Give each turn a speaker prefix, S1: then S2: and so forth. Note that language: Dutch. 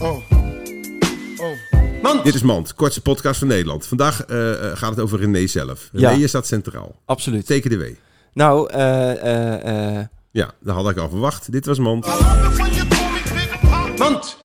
S1: Oh. Oh.
S2: Dit is Mand, kortste podcast van Nederland. Vandaag eh, eh, gaat het over René zelf. René,
S3: Ja.
S2: je staat centraal.
S3: Absoluut.
S2: Teken de W.
S3: Nou, eh, eh, eh,
S2: Ja, dat had ik al verwacht. Dit was Mand.
S1: Mand!